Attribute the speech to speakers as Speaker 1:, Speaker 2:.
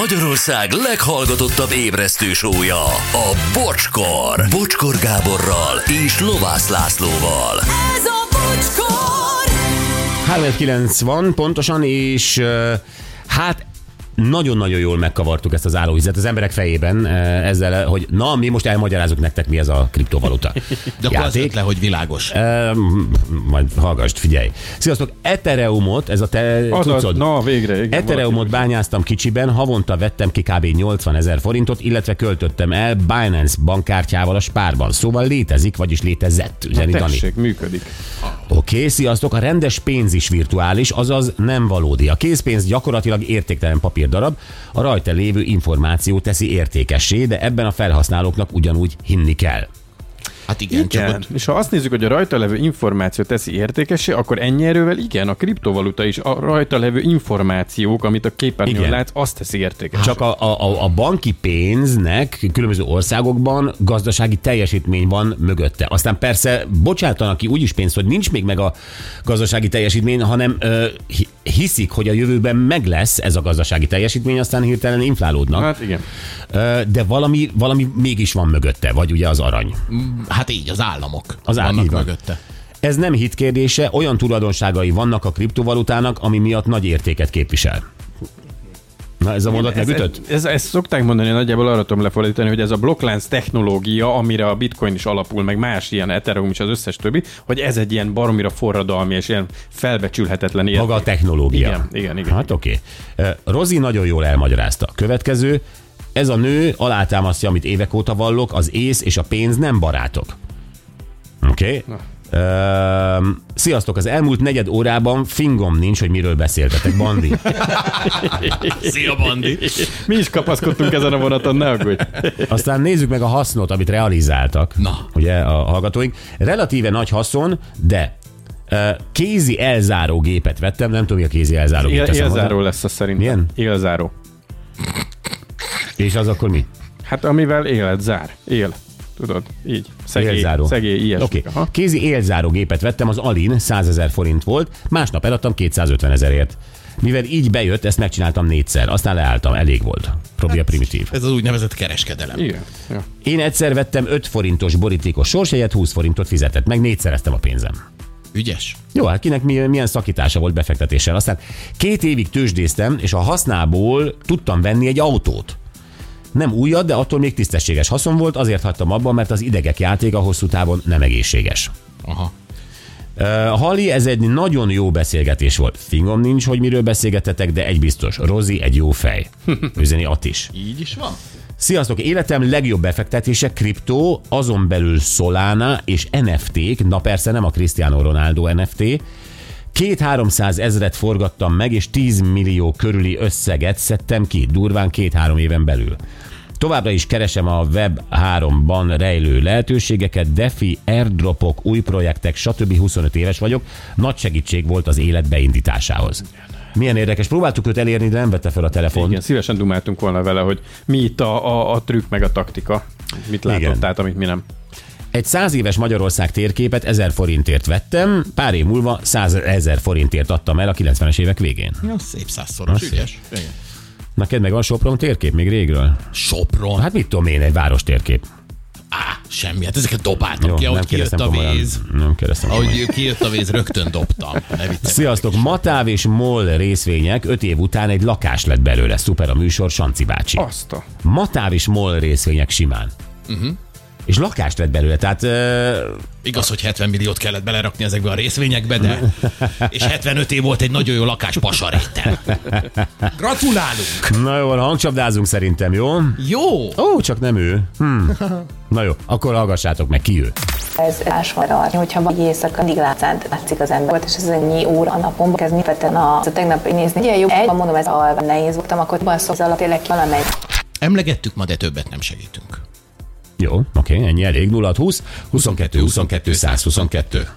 Speaker 1: Magyarország leghallgatottabb ébresztő sója, a Bocskor. Bocskor Gáborral és Lovász Lászlóval.
Speaker 2: Ez a bocskor!
Speaker 3: 3 van pontosan, és ö, hát nagyon-nagyon jól megkavartuk ezt az állóhizet az emberek fejében ö, ezzel, hogy na, mi most elmagyarázunk nektek, mi ez a kriptovaluta.
Speaker 4: De akkor az
Speaker 3: játék.
Speaker 4: öt le, hogy világos.
Speaker 3: Ö, majd hallgass, figyelj. Sziasztok, Ethereumot, ez a te
Speaker 5: Azaz,
Speaker 3: cuccod.
Speaker 5: na végre, igen.
Speaker 3: Ethereumot bányáztam kicsiben, havonta vettem ki kb. 80 ezer forintot, illetve költöttem el Binance bankkártyával a spárban. Szóval létezik, vagyis létezett, üzeni
Speaker 5: valaki.
Speaker 3: Dani.
Speaker 5: Tessék, működik.
Speaker 3: Oké, okay, sziasztok! A rendes pénz is virtuális, azaz nem valódi. A készpénz gyakorlatilag értéktelen papírdarab, a rajta lévő információ teszi értékessé, de ebben a felhasználóknak ugyanúgy hinni kell.
Speaker 4: Hát igen, csak
Speaker 5: Igen.
Speaker 4: ott
Speaker 5: És ha azt nézzük, hogy a rajta levő információ teszi értékesé, akkor ennyi erővel igen, a kriptovaluta is a rajta levő információk, amit a képernyőn
Speaker 3: Igen.
Speaker 5: látsz, azt teszi értékesé.
Speaker 3: Csak a, a, a- a banki pénznek különböző országokban gazdasági teljesítmény van mögötte. Aztán persze bocsátanak ki úgy is pénzt, hogy nincs még meg a gazdasági teljesítmény, hanem ö, hi- hiszik, hogy a jövőben meg lesz ez a gazdasági teljesítmény, aztán hirtelen inflálódnak.
Speaker 5: Hát igen.
Speaker 3: Ö, de valami, valami mégis van mögötte, vagy ugye az arany.
Speaker 4: Hát így, az államok
Speaker 3: Az áll-
Speaker 4: vannak
Speaker 3: így van.
Speaker 4: mögötte.
Speaker 3: Ez nem hit kérdése, olyan tulajdonságai vannak a kriptovalutának, ami miatt nagy értéket képvisel. Na ez a mondat
Speaker 5: Ez, ez,
Speaker 3: megütött?
Speaker 5: ez, ezt szokták mondani, nagyjából arra tudom lefordítani, hogy ez a blokklánc technológia, amire a bitcoin is alapul, meg más ilyen Ethereum is az összes többi, hogy ez egy ilyen baromira forradalmi és ilyen felbecsülhetetlen ilyen.
Speaker 3: Maga a technológia.
Speaker 5: Igen, igen, igen.
Speaker 3: Hát oké. Okay. Rozi nagyon jól elmagyarázta. Következő, ez a nő alátámasztja, amit évek óta vallok, az ész és a pénz nem barátok. Oké? Okay? Sziasztok, az elmúlt negyed órában fingom nincs, hogy miről beszéltetek, Bandi.
Speaker 4: Szia, Bandi!
Speaker 5: Mi is kapaszkodtunk ezen a vonaton, ne aggódj.
Speaker 3: Aztán nézzük meg a hasznot, amit realizáltak.
Speaker 4: Na.
Speaker 3: Ugye a hallgatóink. Relatíve nagy haszon, de ö, kézi elzáró gépet vettem, nem tudom, mi a kézi elzáró
Speaker 5: Él,
Speaker 3: gép. teszem hozzá.
Speaker 5: élzáró lesz az szerintem.
Speaker 3: Milyen?
Speaker 5: Élzáró.
Speaker 3: És az akkor mi?
Speaker 5: Hát amivel élet zár. Él. Tudod, így. Szegély,
Speaker 3: Élzáró.
Speaker 5: szegély ilyesmi.
Speaker 3: Oké.
Speaker 5: Aha.
Speaker 3: Okay. Kézi élzáró gépet vettem, az Alin 100 ezer forint volt, másnap eladtam 250 ezerért. Mivel így bejött, ezt megcsináltam négyszer, aztán leálltam, elég volt. Probia
Speaker 5: Hát.
Speaker 3: primitív.
Speaker 4: Ez az úgynevezett kereskedelem.
Speaker 5: Igen. Ja.
Speaker 3: Én egyszer vettem 5 forintos borítékos sorsjegyet, 20 forintot fizetett, meg négyszereztem a pénzem.
Speaker 4: Ügyes.
Speaker 3: Jó, hát kinek mi- milyen szakítása volt befektetéssel. Aztán két évig tőzsdéztem, és a hasznából tudtam venni egy autót. Nem újat, de attól még tisztességes haszon volt, azért hagytam abban, mert az idegek játéka hosszú távon nem egészséges.
Speaker 4: Aha.
Speaker 3: Uh, Hali, ez egy nagyon jó beszélgetés volt. Fingom nincs, hogy miről beszélgetetek, de egy biztos. Rozi egy jó fej. Üzeni At is.
Speaker 4: Így is van.
Speaker 3: Sziasztok! Életem legjobb befektetése kriptó, azon belül Solana és NFT-k, na persze nem a Cristiano Ronaldo NFT, két 300 ezret forgattam meg, és 10 millió körüli összeget szedtem ki, durván két-három éven belül. Továbbra is keresem a Web3-ban rejlő lehetőségeket, defi, airdropok, új projektek, stb. 25 éves vagyok. Nagy segítség volt az élet beindításához. Milyen érdekes. Próbáltuk őt elérni, de nem vette fel a telefont.
Speaker 5: Igen, szívesen dumáltunk volna vele, hogy mi itt a, a, a trükk meg a taktika. Mit látott
Speaker 3: Igen.
Speaker 5: át, amit mi nem.
Speaker 3: Egy száz éves Magyarország térképet 1000 forintért vettem, pár év múlva 100 ezer forintért adtam el a 90-es évek végén.
Speaker 4: Ja, szép százszoros. Ügyes. Igen.
Speaker 3: Na kedd meg, van Sopron térkép még régről?
Speaker 4: Sopron. Hát,
Speaker 3: Hát mit tudom én, egy város térkép.
Speaker 4: á, semmi. Hát ezeket dobáltam ki, ahogy kijött a
Speaker 3: komolyan.
Speaker 4: víz.
Speaker 3: Nem kérdeztem komolyan.
Speaker 4: Ahogy kijött a víz, rögtön dobtam. Ne viccelj.
Speaker 3: Sziasztok, Matáv és Moll részvények 5 év után egy lakás lett belőle. Szuper a műsor, Sanci bácsi.
Speaker 4: Ah.
Speaker 5: Azt a...
Speaker 3: Matáv és Moll részvények simán. Uh-huh.
Speaker 4: Mhm.
Speaker 3: És lakást lett belőle, tehát ö,
Speaker 4: Igaz, hogy 70 milliót kellett belerakni ezekbe a részvényekbe, de... És 75 év volt egy nagyon jó lakás pasaréten. Gratulálunk!
Speaker 3: na jó, van, hangcsapdázunk szerintem, jó?
Speaker 4: Jó!
Speaker 3: Ó, csak nem ő. Hm. Na jó, akkor hallgassátok meg, ki ő.
Speaker 6: Ez ásvarar, hogyha vagy éjszaka mindig látszánt, látszik az ember volt, és ez ennyi óra a napon, ez nyilvetten a, a tegnap nézni. Ugye jó, egy, ha mondom, ez alva nehéz voltam, akkor van szó, ez alatt tényleg valamelyik
Speaker 4: Emlegettük ma, de többet nem segítünk.
Speaker 3: Jó, oké, ennyi elég. 0 20 22 22 122.